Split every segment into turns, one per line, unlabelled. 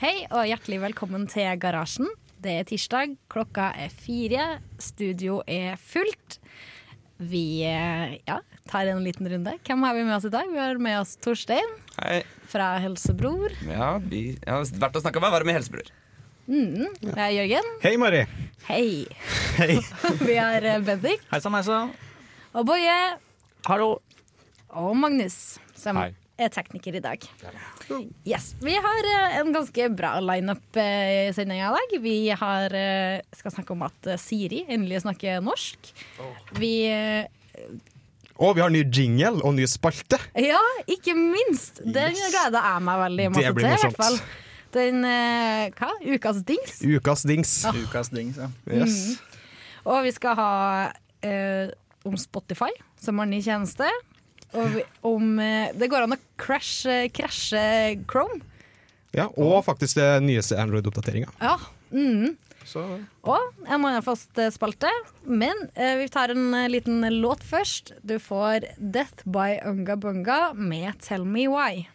Hei og hjertelig velkommen til Garasjen. Det er tirsdag, klokka er fire, studio er fullt. Vi eh, ja, tar en liten runde. Hvem har vi med oss i dag? Vi har med oss Torstein
Hei.
fra Helsebror.
Ja, vi jeg har vært og snakka med varme helsebror.
Vi har Jørgen.
Hei, Mari.
Hei. vi har eh, Bendik
Hei sann, hei sann.
og Boje.
Hallo.
Og Magnus, som
Hei.
er tekniker i dag. Yes, Vi har eh, en ganske bra lineup eh, i sendinga i dag. Vi har, eh, skal snakke om at eh, Siri endelig snakker norsk. Vi eh,
Og vi har ny jingle og ny spalte.
Ja, ikke minst! Den
Yes.
gleder jeg meg veldig masse
Det blir
til. i hvert
morsomt.
fall. Den eh, hva? Ukas dings.
Ukas dings.
Ukas dings, ja.
Yes.
mm.
Og vi skal ha eh, om Spotify som har ny tjeneste. Og vi, om eh, Det går an å crash- eh, krasje Chrome.
Ja, og faktisk det nyeste Android-oppdateringa.
Ja. Mm.
Så
Og en annen fast eh, spalte. Men eh, vi tar en eh, liten låt først. Du får 'Death by Unga Bunga' med 'Tell Me Why'.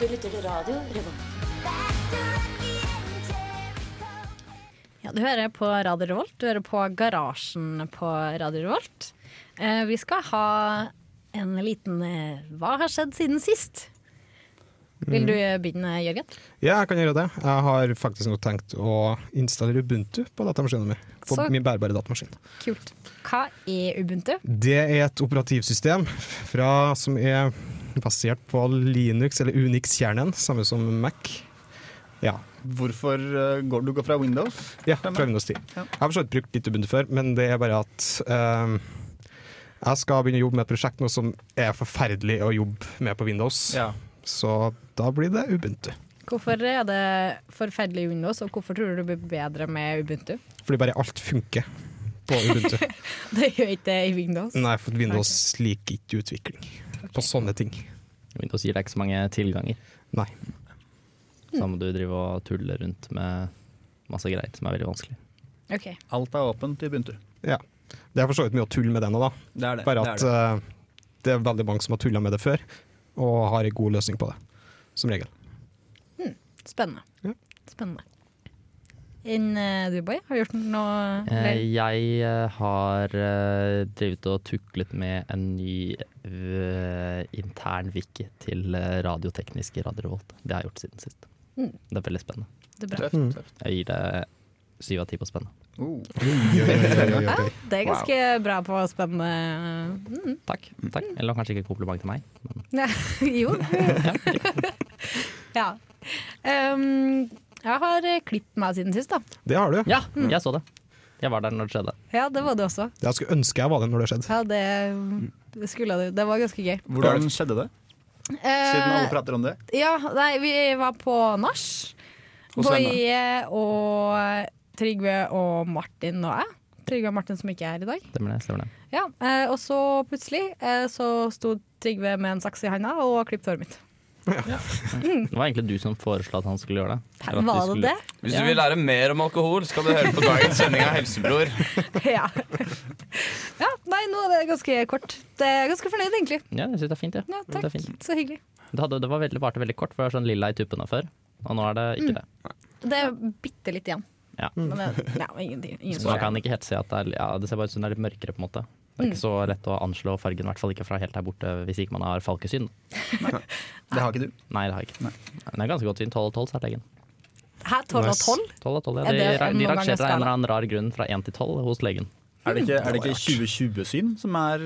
Du lytter til radio Revolt.
Ja, du hører på Radio Revolt. Du hører på Garasjen på Radio Revolt. Eh, vi skal ha en liten eh, Hva har skjedd siden sist? Vil du begynne, Jørgen?
Ja, jeg kan gjøre det. Jeg har faktisk nå tenkt å installere Ubuntu på datamaskinen min. På
Så-
min bærbare datamaskin.
Kult. Hva er Ubuntu?
Det er et operativsystem fra, som er basert på Linux, eller Unix-kjernen, samme som Mac. Ja,
Hvorfor eh, går du går fra Windows?
Ja, fra Windows 10.
Ja.
Jeg har forstått brukt litt Ubuntu før, men det er bare at eh, jeg skal begynne å jobbe med et prosjekt nå som er forferdelig å jobbe med på Windows.
Ja.
Så da blir det Ubuntu.
Hvorfor er det forferdelig i Windows, og hvorfor tror du det blir bedre med Ubuntu?
Fordi bare alt funker på Ubuntu.
Det gjør ikke det i Windows.
Nei, for Windows liker ikke utvikling på sånne ting.
Windows gir deg ikke så mange tilganger.
Nei.
Så da må du drive og tulle rundt med masse greier som er veldig vanskelig.
Ok.
Alt er åpent i Buntu.
Ja. Det er for så vidt mye å tulle med det nå, da.
Det er det.
Bare
det er
at
det.
eh, det er veldig mange som har tulla med det før, og har en god løsning på det. Som regel.
Spennende.
Ja.
Spennende. Enn eh, du, Boy? Har du gjort noe
Eh, Jeg eh, har eh, drevet og tuklet med en ny eh, intern wiki til eh, radiotekniske Radio Revolt. Det har jeg gjort siden sist.
Mm.
Det er veldig spennende.
Det er bra.
Tøft, tøft.
Jeg gir det syv av ti på spennende.
Oh.
Ja, det er ganske bra på spennende mm.
Takk. takk. Eller kanskje ikke et kompliment til meg. Men
Nei, Jo. ja. Ehm, jeg har klippet meg siden sist, da.
Det har du.
ja,
Mm.
jeg så det. Jeg var der når det skjedde.
Ja, det var du også.
Jeg skulle ønske jeg var det når det skjedde.
Ja, det, det skulle du. Det var ganske gøy.
Hvordan skjedde det? Siden alle
Eh,
prater om det.
ja, nei, vi var på nach.
Hos venner.
Boje og Trygve og Martin og jeg. Trygve og Martin som ikke er her i dag.
Stemmer det? Stemmer det.
Ja, eh, Og så plutselig eh, så sto Trygve med en saks i handa og klippet håret mitt.
det var egentlig du som foreslo at han skulle gjøre det. Eller at du
Var det
skulle-
det?
Hvis du vil lære mer om alkohol, skal du høre på dagens sending av Helsebror.
ja. ja. Nei, nå er det ganske kort. Det er ganske fornøyd, egentlig.
Ja, jeg syns det er fint, jeg.
Ja,
Det er
takk.
fint.
Så hyggelig.
Det, hadde, det var veldig, varte veldig kort, for det var sånn lilla i tuppene før. Og nå er det ikke
Mm.
det.
Det er bitte litt igjen.
Ja.
Men det, ja, ingenting. Ingen
Så man
fare.
kan ikke helt se at det er, ja, det ser bare ut som det er litt mørkere, på en måte. Det er ikke
Mm.
så lett å anslå fargen, i hvert fall ikke fra helt her borte, hvis ikke man har falkesyn.
Det har ikke du.
Nei, det har jeg ikke.
Nei.
Men det er ganske godt syn. 12 og 12, sa Legen.
Hæ, 12 og
Nice.
12?
12 og 12,
Er
ja. De,
det
ra-
noen
de
gang
rangerer av
skala?
en eller annen rar grunn fra 1 til 12 hos legen.
Er det ikke, er det ikke 2020-syn som er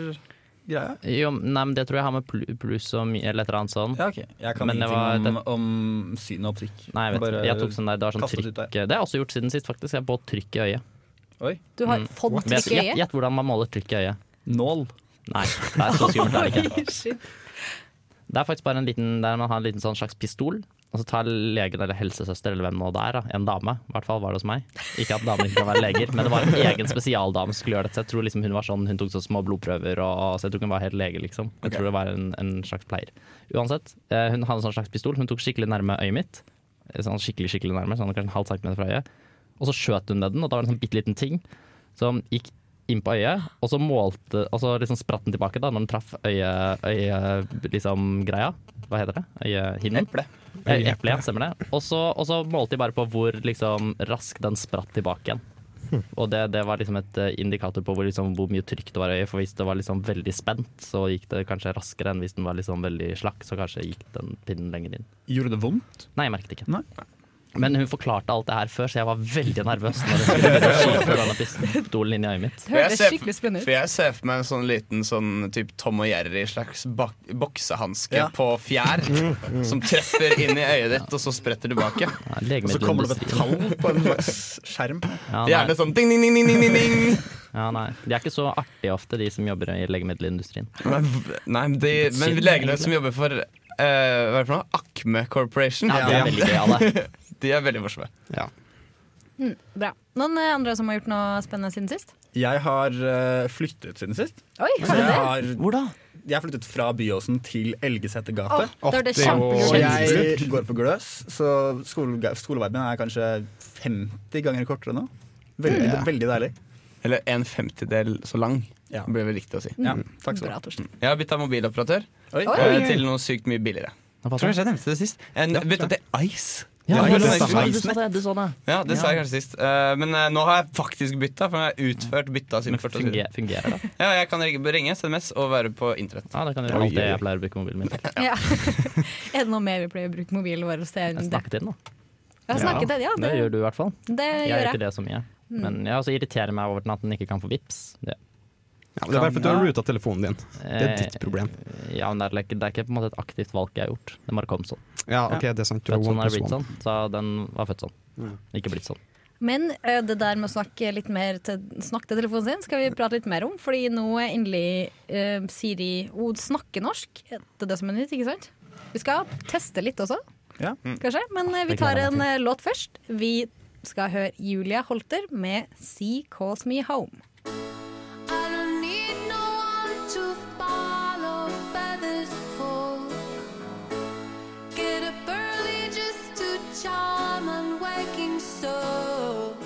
greia?
Jo, nei, men det tror jeg har med pl- pluss og mi- eller et eller annet sånn.
Ja, ok. Jeg kan
Men det var-
ingenting om, om syn og optikk.
Nei, jeg vet
Bare-
ikke. Jeg tok sånn der, det var sånn
kastet ut
trykk Det har jeg også gjort siden sist, faktisk. Jeg har båt trykk i øyet.
Oi.
Du
Mm.
har fått
Vet-
trykk i
Gjett
øyet?
gjett hvordan man måler trykk i øyet.
Nål.
Nei, det er så skummelt, er det ikke.
Oi, shit.
Det er faktisk bare en liten, der man har en liten sånn slags pistol, og så tar legen eller helsesøster eller hvem nå det er, da, en dame. I hvert fall var det hos meg. Ikke at damer ikke kan være leger, men det var en egen spesialdame som skulle gjøre dette. Så jeg tror liksom hun var sånn, hun tok så små blodprøver, og, så jeg tror ikke hun var helt lege, liksom. Jeg tror det var en, en slags pleier. Uansett, eh, hun hadde en sånn slags pistol, hun tok skikkelig nærme øyet mitt. Eh, Sånn skikkelig, skikkelig nærme, sånn kanskje en halv centimeter fra øyet. og så skjøt hun med den, og da var det en sånn bitte liten ting som gikk inn på øyet, og så målte, og så liksom spratt den tilbake da, når den traff øye, øye, liksom greia. Hva heter det? Øyehinnen?
Eple.
Eh, Eple, ja, stemmer det. Og så, og så målte de bare på hvor liksom, raskt den spratt tilbake igjen. Og det, det var liksom et eh, indikator på hvor, liksom, hvor mye trykk det var i øyet. For hvis det var liksom veldig spent, så gikk det kanskje raskere enn hvis den var liksom veldig slakk. Så kanskje gikk den pinnen lenger inn.
Gjorde det vondt?
Nei, jeg merket ikke.
Nei.
Men hun forklarte alt det her før, så jeg var veldig nervøs. Når hun skulle skyte denne pistolen inn i øyet mitt.
Det høres
ser-
skikkelig spennende
For
ut.
jeg ser for meg en sånn liten sånn typ Tom og Jerry-slags bak- boksehanske
Ja.
på fjær som treffer inn i øyet ditt, og så spretter tilbake.
Ja,
Og så kommer det opp et
legemiddelindustrien.
tall på en slags skjerm.
Ja, nei.
Gjerne sånn ding, ding, ding, ding, ding, ding.
Ja, nei. De er ikke så artige ofte, de som jobber i legemiddelindustrien.
Nei, v- nei de, men legene som jobber for eh, hva er det for noe? Acme Corporation.
Ja, de er veldig gøyale.
De er veldig morsomme.
Ja.
Bra. Noen eh, andre som har gjort noe spennende siden sist?
Jeg har eh, flyttet siden sist.
Oi,
Så
har du
jeg
det?
har,
Hvor da?
jeg har flyttet fra Byåsen til Elgeseter gate.
Åh, da er det
Åh, det er jo-
Og
kjempelurt.
jeg går på gløs, så skole, skoleveien min er kanskje 50 ganger kortere nå. Veldig,
Ja.
veldig deilig.
Mm.
Eller en femtidel så lang,
Ja.
blir vel riktig å si.
Ja, takk skal du
Bra,
ha.
Torsten.
Jeg har bytta mobiloperatør
Oi.
Oi.
eh, til noe sykt mye billigere. Tror
Hva sa du?
kanskje jeg nevnte det sist. Eh, En, bytta til Ice.
Ja,
Ja,
du,
det
sa
stemmer.
det, du sa det, du sa det.
Ja, det sa jeg kanskje sist. Eh, men eh, nå har jeg faktisk bytta, for nå har jeg utført bytta siden
Men
første siden.
fungerer, fungerer det?
Ja, jeg kan ringe, ringe SMS og være på internett.
Ja, det kan
Oi,
gjøre alt det
oi, oi.
jeg pleier å bruke mobilen min til.
Ja. er det noe mer vi pleier å bruke mobilen vår til
Jeg
enn det?
snakket til den, da.
Ja, snakket til, ja,
Det
det,
gjør du i hvert fall.
det
Jeg
gjør
gjør ikke
jeg.
det så mye. Men jeg også irriterer meg over den at den ikke kan få vips. Det,
Ja, men det er bare fordi du har ruta telefonen din. Det er ditt problem.
ja, men det er, ikke- det er ikke på en måte et aktivt valg jeg har gjort. Det bare kom sånn.
Ja, ok, det er sant. Du har
Født sånn
one
er
plus
blitt
one.
sånn, så den var født sånn. Ikke blitt sånn.
Men ø, det der med å snakke litt mer til, snakke til telefonen sin skal vi prate litt mer om. Fordi nå er endelig ø, Siri hun snakker norsk. Det er det som er nytt, ikke sant? Vi skal teste litt også,
Ja.
kanskje. Men ø, vi
Det
tar
gleder Mm. jeg
en
meg
ø, låt først. Vi skal høre Julia Holter med Sea Calls Me Home.
I don't need no one to follow feathers fall. Get up early just to charm unwaking souls.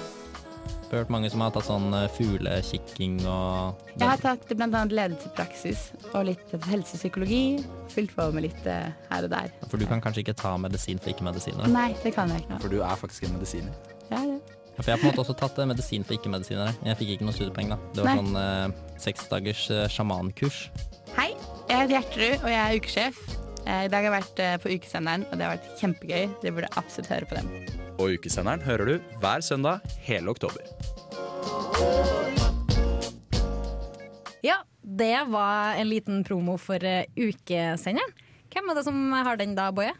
Hørt mange som har tatt sånn fuglekikking og
Jeg har tatt bl.a. ledelse i praksis og litt helsepsykologi. Fylt på med litt eh, her og der.
For du kan kanskje ikke ta medisin for ikke-medisinere?
Nei, det kan jeg ikke nå.
Ah. For du er faktisk en medisiner.
Ja, det.
Ja, For jeg har på en måte også tatt eh, medisin for ikke-medisinere. Jeg fikk ikke noe studiepoeng, da. Det var
Nei.
sånn eh, seks dagers eh, sjamankurs.
Hei, jeg heter Gjertrud, og jeg er ukesjef. Eh, I dag har jeg vært eh, på ukesenderen, og det har vært kjempegøy. Dere burde absolutt høre på dem.
Og ukesenderen hører du hver søndag hele oktober.
Ja, det var en liten promo for ø, ukesenderen. Hvem er det som har den da, Boje?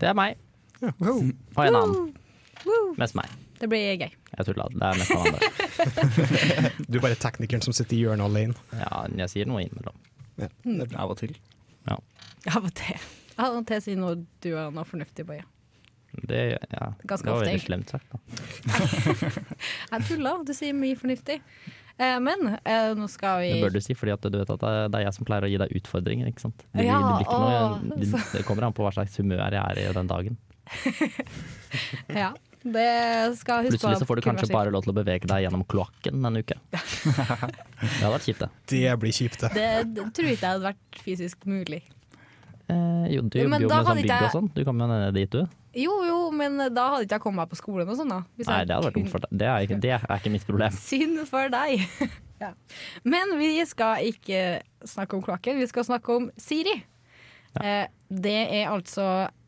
Det er meg. Og en annen.
Woo!
Mest meg.
Det blir gøy.
Jeg tulla. Det er mest han andre.
Du er bare teknikeren som sitter i hjørnet alene.
Ja, men jeg sier noe innimellom.
Av og til.
Ja.
Av og til. Av og til sier noe du har noe fornuftig på. Ja.
Det, ja.
Ganske
det var
ofte,
veldig
egentlig.
slemt sagt, da.
Jeg tuller, du sier mye fornuftig. Eh, men eh, nå skal vi
Det bør du si, fordi at du vet at det det er jeg som pleier å gi deg utfordringer, ikke sant. Det, blir,
Ja,
det, blir ikke
å,
noe, det, det kommer an på hva slags humør jeg er i den dagen.
Ja, det skal jeg huske
Plutselig så får du
Kun vær
kanskje
så-
bare lov til å bevege deg gjennom kloakken en uke. Det hadde vært kjipt, det.
Det blir kjipt, det.
det, det tror ikke jeg hadde vært fysisk mulig.
Eh, jo, du
Ja, men
jobber jo
da kan
med sånn
ikke
bygg og
jeg-
sånn. Du kommer jo ned dit, du.
Jo jo, men da hadde ikke jeg kommet meg på skolen og sånn, da. Hvis
Nei,
jeg
det hadde vært
kun-
dumt for deg. Det er ikke, det er ikke mitt problem.
Synd for deg. ja. Men vi skal ikke snakke om kloakken, vi skal snakke om Siri. Eh, det er altså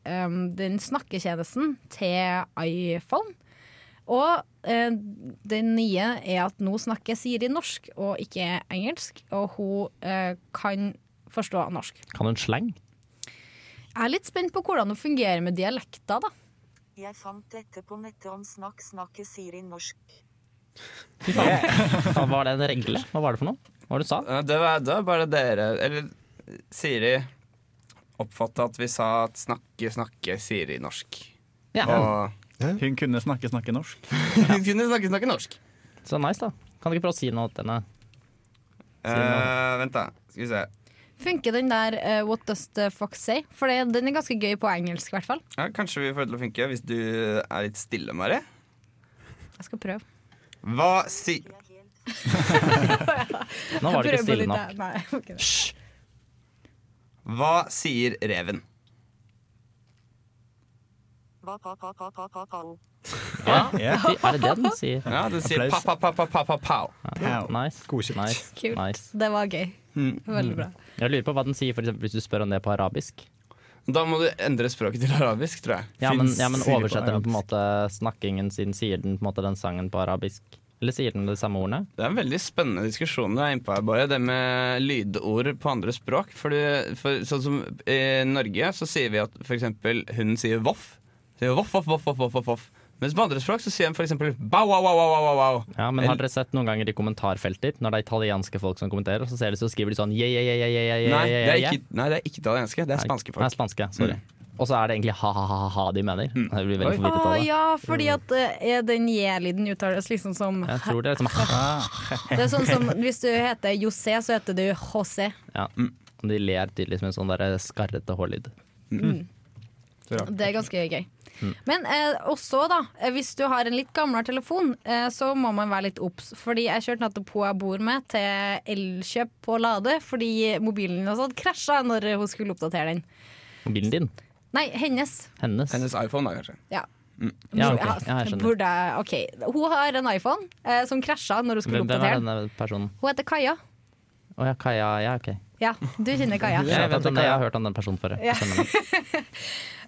em, den snakketjenesten til iPhone. Og eh, det nye er at nå snakker Siri norsk og ikke engelsk, og hun eh, kan forstå norsk.
Kan hun slang?
Jeg er litt spent på hvordan det fungerer med dialekter, da.
Jeg fant dette på nettet om snakk snakke Siri norsk.
Hva var det en regle? Hva var det for noe? Hva var det du sa?
Eh, Det var, det var bare dere Eller Siri oppfatta at vi sa at snakke, snakke Siri norsk.
Ja.
Og
Hun kunne snakke, snakke norsk.
hun kunne snakke, snakke norsk.
Så nice, da. Kan du ikke prøve å si noe til henne?
Eh, vent, da. Skal vi se.
Funker den der eh, 'What does the fox say'? For det, den er ganske gøy på engelsk, i hvert fall.
Ja, kanskje vi får det til å funke hvis du er litt stille, Mari.
Jeg skal prøve.
Hva si...
Nå var det ikke
Prøve
stille
litt
nok.
der. Nei, ok.
Hysj!
Hva sier reven?
Hva pa pa pa pa pa pa
Ja, er det det den sier?
Ja, den sier
Applaus.
pa-pa-pa-pa-pa-pa-pow.
Pow.
Nice.
Godkjent.
nice.
Kult.
nice.
Det var gøy. Veldig bra.
Jeg lurer på hva den sier for eksempel, hvis du spør om det på arabisk.
Da må du endre språket til arabisk, tror jeg.
Ja, men,
Fins
ja, men
sier det på
oversetter den på en
arabisk.
måte snakkingen sin, sier den på en måte den sangen på arabisk? Eller sier den de samme ordene?
Det er en veldig spennende diskusjon du er inne på her, Boje. Det med lydord på andre språk. Fordi, for, sånn som I Norge så sier vi at f.eks. hunden sier voff. Sier voff, voff, voff, voff, voff, voff, voff. Mens på andre språk så sier den f.eks. bau, au, au, au, au, au.
Ja, men har dere sett noen ganger i kommentarfelter, når det er italienske folk som kommenterer, så ser de så skriver de sånn yeah, yeah, yeah, yeah, yeah,
Nei, det
yeah, yeah,
er
yeah.
ikke, nei, det er ikke italienske. Det er spanske
Nei,
folk. Mm.
spanske, sorry. Og så er det egentlig ha-ha-ha de mener. Jeg blir veldig
Oi.
forvirret
Å
av det.
ja, fordi at eh, den j-lyden uttales liksom som
Jeg tror det er liksom
Det er sånn som hvis du heter José, så heter du José.
Ja.
Mm.
Og De ler tydeligvis med en sånn der skarrete hårlyd.
Det er ganske gøy. Men eh, også, da, eh, hvis du har en litt gamlere telefon, eh, så må man være litt obs. Fordi jeg kjørte nettopp hun jeg bor med, til Elkjøp på Lade, fordi mobilen hennes hadde krasja når hun skulle oppdatere den.
Mobilen din.
Nei, hennes.
Hennes.
Hennes iPhone, da, kanskje.
Ja.
Ja,
Burde-
ok. Ja, jeg skjønner.
Burde jeg OK. Hun har en iPhone eh, som krasja når hun skulle
Hvem, hvem
oppdatere
er
den.
denne personen?
Hun heter Kaja.
Å ja, Kaja. Ja, ok.
Ja, du kjenner Kaja.
Jeg, vet,
til
om det, jeg
Kaja.
har hørt om den personen før.
Ja.
Jeg skjønner det.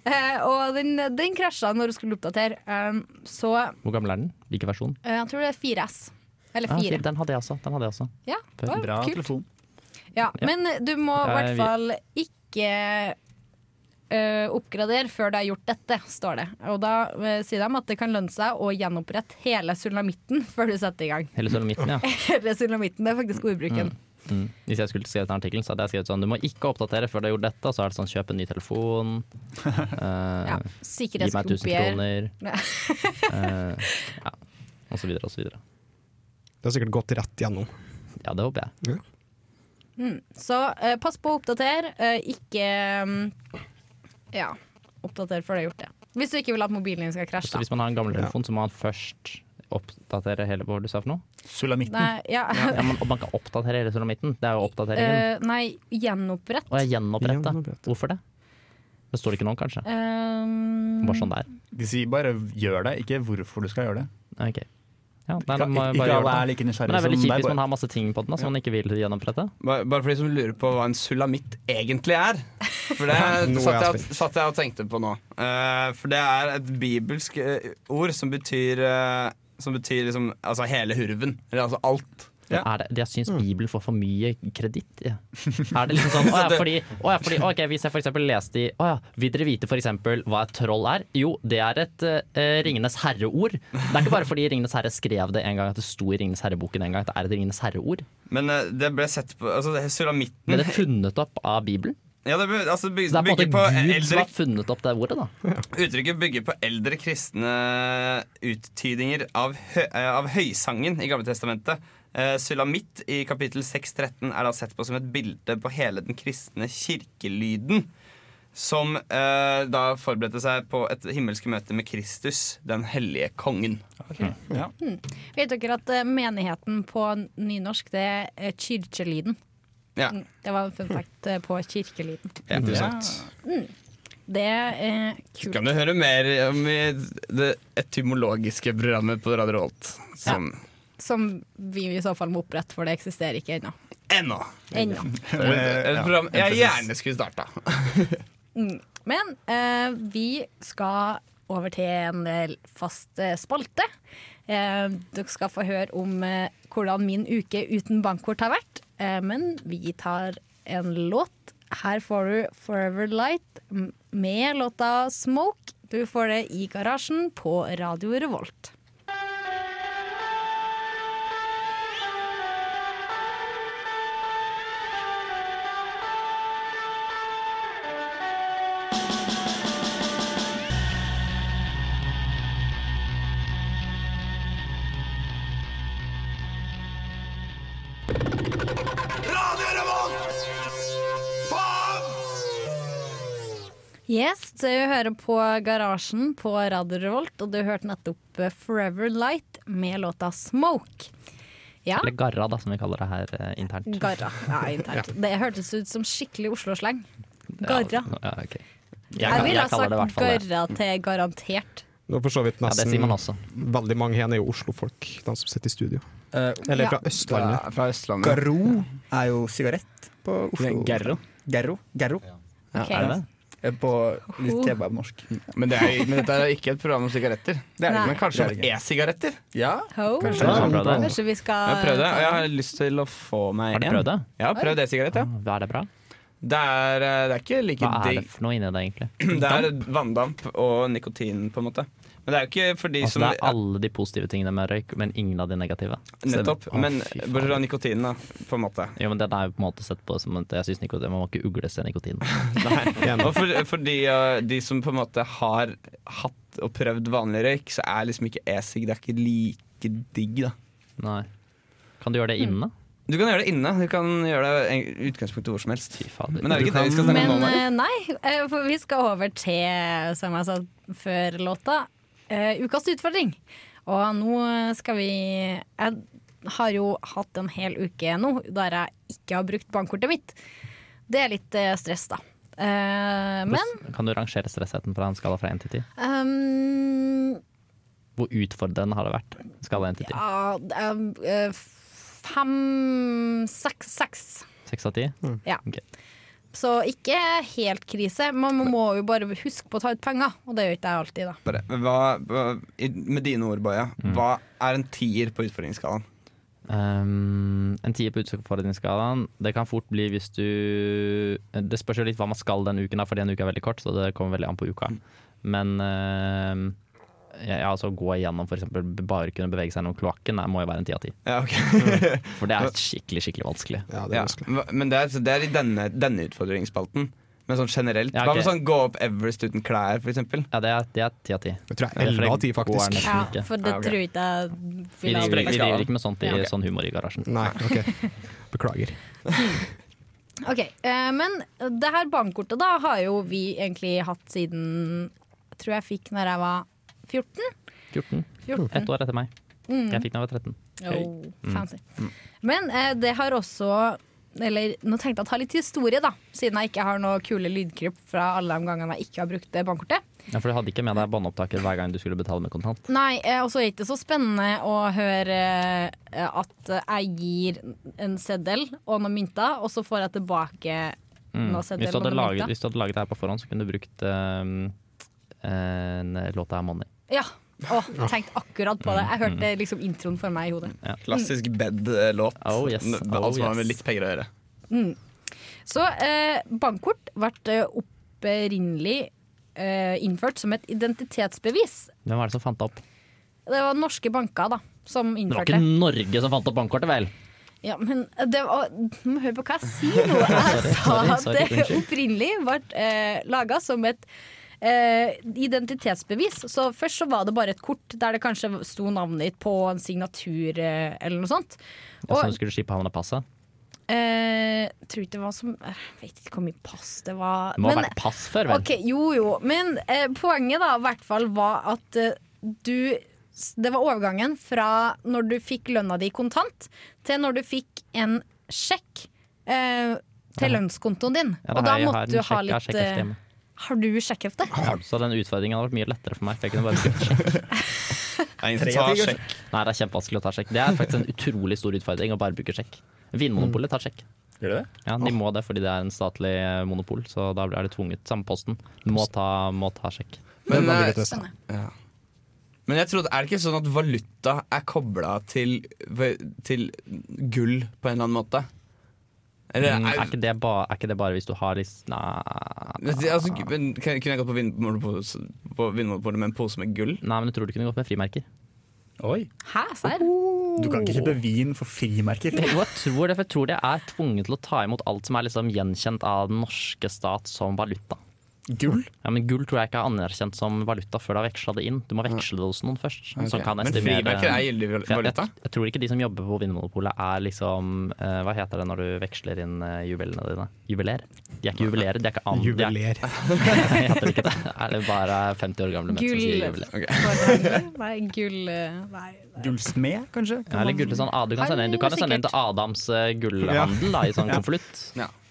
Eh, og den, den krasja når hun skulle oppdatere. Um, så
Hvor gammel er den? Hvilken versjon?
eh, jeg tror det er 4S. Eller 4.
Ja, Ah, fint, den hadde jeg også. Den hadde jeg også.
Ja, det var
Bra
kult.
telefon.
Ja,
Ja.
Men du må i
Det er
hvert
vi-
fall ikke eh, oppgradere før du har gjort dette, står det. Og da eh, sier de at det kan lønne seg å gjenopprette hele sulamitten før du setter i gang.
Hele solomitten, ja.
Hele sulamitten, det er faktisk ordbruken.
Mm. Hvis jeg skulle skrevet den artikkelen, så hadde jeg skrevet sånn Du må ikke oppdatere før du har gjort dette, og så er det sånn kjøp en ny telefon. eh,
Ja,
gi meg 1000
Sikkerhetskopier.
kroner.
Nei.
eh, ja. Og så videre og så videre.
Det har sikkert gått rett gjennom.
Ja, det håper jeg.
Så eh, pass på å oppdatere. eh, ikke mm, Ja, oppdater før du har gjort det. Hvis du ikke vil at mobilen din skal krasje.
Så
da.
hvis man har en gammel telefon, så må man først oppdatere hele Hva var det du sa for noe?
Sulamitten.
Nei, ja.
Ja, men man kan oppdatere hele solomitten. Det er jo oppdateringen.
Eh, nei, gjenopprett.
og jeg gjenoppretta.
Gjenopprette.
Hvorfor det? Det står ikke noe om, kanskje.
Um,
Bare sånn der.
De sier bare 'gjør det', ikke hvorfor du skal gjøre det.
Ok. Ja, nei, da
Ikke,
må jeg
ikke
bare
alle er like
gjøre det. Men det
nysgjerrige
er veldig kjipt hvis
deg,
man har masse ting på den da, som man ikke vil gjenopprette.
Bare, bare for de som lurer på hva en sulamit egentlig er. For det
Nå er jeg
satt jeg,
spent.
satt jeg og tenkte på nå. Eh, for det er et bibelsk eh, ord som betyr eh, Som betyr liksom altså hele hurven. Eller altså alt.
Ja.
Er det, jeg syns Bibelen får for mye kreditt. Ja. Er det liksom sånn å, ja, fordi, å, ja, fordi, ok, Hvis jeg for eksempel leste i å, ja, Vil dere vite for eksempel hva et troll er? Jo, det er et eh, Ringenes herre-ord. Det er ikke bare fordi Ringenes herre skrev det en gang at det sto i Ringenes herre-boken en gang. at Det er et Ringenes herre-ord.
Men eh, det ble sett på Altså, det-
Ble
sulamitten
det funnet opp av Bibelen?
ja, det, ble- altså, byg,
Så det er på
bygger
en
på
måte Gud som
eldre,
har funnet opp det ordet, da.
Uttrykket bygger på eldre kristne uttydinger av, hø, eh, av høysangen i Gamle testamentet. Eh, Sulamitt i kapittel 6.13 er da sett på som et bilde på hele den kristne kirkelyden, som eh, da forberedte seg på et himmelsk møte med Kristus, den hellige kongen.
Ja.
Vet dere at eh, menigheten på n- nynorsk det er eh, kirkelyden?
Ja,
Mm, Det var en fun
Hm.
fact eh, på kirkelyden.
ja.
Interessant.
Det er eh, kult.
Kan du høre mer om i det etymologiske programmet på Radio Holt? Som
Som vi i så fall må opprette, for det eksisterer ikke ennå.
ennå
Ennå.
er et, et program jeg gjerne skulle starta.
Men eh, vi skal over til en del fast eh, spalte. Eh, dere skal få høre om eh, hvordan min uke uten bankkort har vært. Eh, men vi tar en låt. Her får du 'Forever Light' m- med låta 'Smoke'. Du får det i garasjen på Radio Revolt. Yes, så jeg hører på Garasjen på Radio Revolt, og du hørte nettopp eh, Forever Light med låta Smoke. Ja,
Eller Garra, da, som vi kaller det her eh, internt.
Garra. Ja, internt. Det hørtes ut som skikkelig Oslo-sleng. Garra.
Ja, ja, ok. Mm. Jeg,
Jeg
jeg,
ville ha
kaller
sagt
det i hvert fall det.
garra til garantert.
Og for så vidt
Ja, det
nesten
sier man også.
Veldig mange her er jo Oslo-folk, de som sitter i studio.
Eh,
Eller
Ja.
fra Østlandet.
Fra, fra Østlandet.
Garo er jo sigarett på
Det er
Oslo.
Gerro.
Gerro. Gerro.
Ok.
Er det det?
Eh, På litt kebabnorsk.
Men, det er, men dette er jo ikke et program om sigaretter.
er det ikke.
Men kanskje
Det er
om
det
e-sigaretter?
Ja.
Ho.
Har du prøvd det?
Kanskje vi
Jeg
skal
har prøvd det, og jeg har lyst til å få meg
Har du
en.
prøvd det?
Jeg har prøvd e-sigarett, ja.
Hva er det bra?
Det er, eh, det er ikke like
Hva er det
digg.
for noe inni det, egentlig?
Det er vanndamp og nikotin, på en måte. Men det er jo ikke for de
Altså,
som
det er alle de positive tingene med røyk, men ingen av de negative.
Nettopp.
Å,
Men
fy faen.
bortsett fra nikotinen, da, på en måte.
Jo, men Den er jo på en måte sett på som at jeg synes nikotin, man må ikke ugle seg nikotin.
Nei. Og for, for de, uh, de som på en måte har hatt og prøvd vanlig røyk, så er liksom ikke e-sig det er ikke like digg, da.
Nei. Kan du gjøre det
Mm.
inne?
Du kan gjøre det inne. Du kan gjøre det i utgangspunktet hvor som helst.
Fy fader.
Men det er jo
Du
ikke det vi skal snakke om
Men
nå. Mari.
eh, nei, eh, for vi skal over til, som jeg sa før låta, eh, ukas utfordring. Og nå skal vi Jeg har jo hatt en hel uke nå der jeg ikke har brukt bankkortet mitt. Det er litt eh, stress, da. Eh, men
Hvordan- Kan du rangere stressheten på en skala fra 1 til 10?
ehm,
Hvor utfordrende har det vært? Skala 1 til 10?
ja, det er, eh, Fem, seks, seks.
6 av 10?
Ja.
Ok.
Så ikke helt krise. Man må jo bare huske på å ta ut penger, og det gjør ikke jeg alltid, da.
Bare, hva, hva- i- med dine ord, Boje,
Mm.
hva er en tier på utfordringsskalaen?
Um, en tier på utfordringsskalaen. Det kan fort bli hvis du Det spørs jo litt hva man skal den uken, da, fordi en uke er veldig kort, så det kommer veldig an på uka. Men um, ja, ja, altså gå igjennom f.eks. bare kunne bevege seg gjennom kloakken, det må jo være en ti av ti.
Ja, ok.
For det er skikkelig, skikkelig vanskelig.
Ja, det er
ja.
vanskelig.
hva- Men det er, så det er i denne, denne utfordringsspalten. Men sånn generelt.
Ja,
Hva med
ok.
sånn gå opp Everest uten klær, for eksempel?
Ja, det er- det er ti av ti.
Jeg tror jeg er 11 av 10, faktisk.
Gården.
Ja,
Ikke.
for det
Ja, ok.
tror jeg ikke jeg
Vi
ville
driver
ha
vi driver ikke med sånt i
Ja, ok.
sånn humor i garasjen.
Nei, ok. Beklager.
Ok, eh, Men det her bankkortet da har jo vi egentlig hatt siden jeg tror jeg fikk når jeg var 14.
14.
14.
Ett år etter meg. Jeg fikk den da jeg var 13.
Oh,
Mm.
fancy. Men eh, det har også Eller nå tenkte jeg å ta litt historie, da. Siden jeg ikke har noe kule lydklipp fra alle de gangene jeg ikke har brukt det bankkortet.
Ja, for du hadde ikke med deg båndopptaker hver gang du skulle betale med kontant.
Nei, eh, Og så er det ikke så spennende å høre eh, at jeg gir en seddel og noen mynter, og så får jeg tilbake
Mm.
noen
Hvis,
seddel
du
og
hadde
noen
laget,
mynter.
hvis du hadde laget det her på forhånd, så kunne du brukt um, en låt av Money.
Ja. Åh, jeg tenkte akkurat på det. Jeg hørte
Mm.
liksom introen for meg i hodet.
Klassisk eh, bed-låt.
Oh, yes.
N-
Oh,
Alt som har
yes.
med litt penger å gjøre.
Så eh, bankkort ble eh, opprinnelig eh, innført som et identitetsbevis.
Hvem var det som fant det opp?
Det var norske banker da, som
Det var
innførte
ikke
det.
Norge som fant opp bankkortet, vel?
Ja, men det var, du må høre på hva jeg sier nå. Jeg sa
sorry,
at
sorry,
det
unnskyld.
opprinnelig ble eh, laga som et eh, identitetsbevis. Så først så var det bare et kort der det kanskje sto navnet ditt på en signatur eh, eller noe sånt.
Ja, som du skulle skippe havna passet?
Eh, tror ikke det var som Jeg vet ikke hvor mye pass det var.
Det må ha vært pass før, vel?
ok, jo, jo. Men eh, poenget da, i hvert fall var at eh, du s- Det var overgangen fra når du fikk lønna di kontant, til når du fikk en sjekk eh, til lønnskontoen din.
Ja, det
Og
har
da
jeg- jeg har
måtte
en
du
sjekk-
ha
jeg har
litt
sjekkhefte
eh,
hjemme.
Har du sjekkhefte?
Så den utfordringen hadde vært mye lettere for meg. For jeg kunne bare brukt sjekk.
Det er ingen som tar sjekk.
Nei, det er kjempevanskelig å ta sjekk. Det er faktisk en utrolig stor utfordring å bare bruke sjekk. Vinmonopolet tar sjekk.
Gjør du det?
Ja, De må det fordi det er en statlig eh, monopol, så da er det tvunget. Samme posten. Må ta, må ta sjekk.
Det
Men,
var
eh,
veldig
altså.
trist.
ja. Men jeg trodde, er det ikke sånn at valuta er kobla til, til gull på en eller annen måte? Eller
Mm,
er,
er, ikke det ba, er ikke det bare hvis du har liksom Nei,
Men, altså, men, kan- Kunne jeg gått på Vinmonopolet på Vinmonopolet med en pose med gull?
Nei, men jeg tror du kunne gått med frimerker.
Oi.
Hæ, serr?
Uhuh.
Du kan ikke kjøpe vin for frimerker.
Jo, jeg tror det, for jeg tror det er tvunget til å ta imot alt som er liksom gjenkjent av den norske stat som valuta.
Gull?
Ja, men gull tror jeg ikke er anerkjent som valuta før du har veksla det inn. Du må veksle det hos noen først.
Ok.
Som kan
Men
estimere
frimerker er gyldig val-
Ja,
valuta?
Jeg, jeg tror ikke de som jobber på Vinmonopolet er liksom eh, Hva heter det når du veksler inn eh, juvelene dine? Juveler? De er ikke juvelerer, de er ikke an...
Juveler.
Jeg heter ikke det. Er det bare 50 år gamle menn som sier
Gull
juveler?
forhandler? Nei, gull eh, Nei.
Gullsmed, kanskje?
Ja, eller gull, sånn, ah, du kan, sende inn, du kan jo sende inn til Adams eh, gullhandel da, i sånn
Ja.
konvolutt.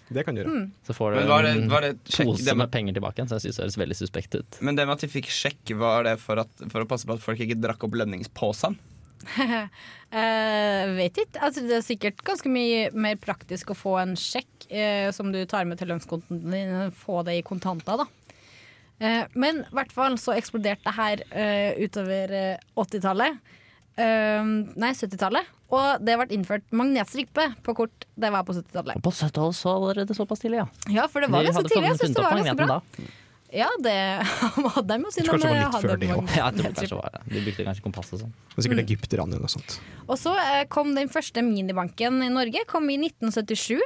Det kan du gjøre.
Hmm.
Så får du
Men var det-
en
var det- sjekk-
pose
det-
med penger tilbake igjen, så jeg synes det høres veldig suspekt ut.
Men det med at de fikk sjekk, var det for, at, for å passe på at folk ikke drakk opp lønningsposen?
Eh, vet ikke. Altså, det er sikkert ganske mye mer praktisk å få en sjekk eh, som du tar med til lønnskontoen din, enn å få det i kontanter, da. Eh, men i hvert fall så eksploderte det her eh, utover eh, 80-tallet. Eh, nei, 70-tallet. Og det ble innført magnetstripe på kort. Det var på 70-tallet.
På 70-tallet så allerede såpass tidlig, ja.
Ja, for det var
De
ganske
hadde
tidlig. Jeg
funnet
synes det
opp
var ganske
magneten
bra.
da.
Ja, det hadde de jo siden
Kanskje det var litt
hadde
før det også.
magnetstripe.
Ja, jeg tror kanskje det var det. De brukte kanskje kompass og sånn.
Det er sikkert
Hmm.
egypterne eller noe sånt.
Og så eh, kom den første minibanken i Norge kom i 1977.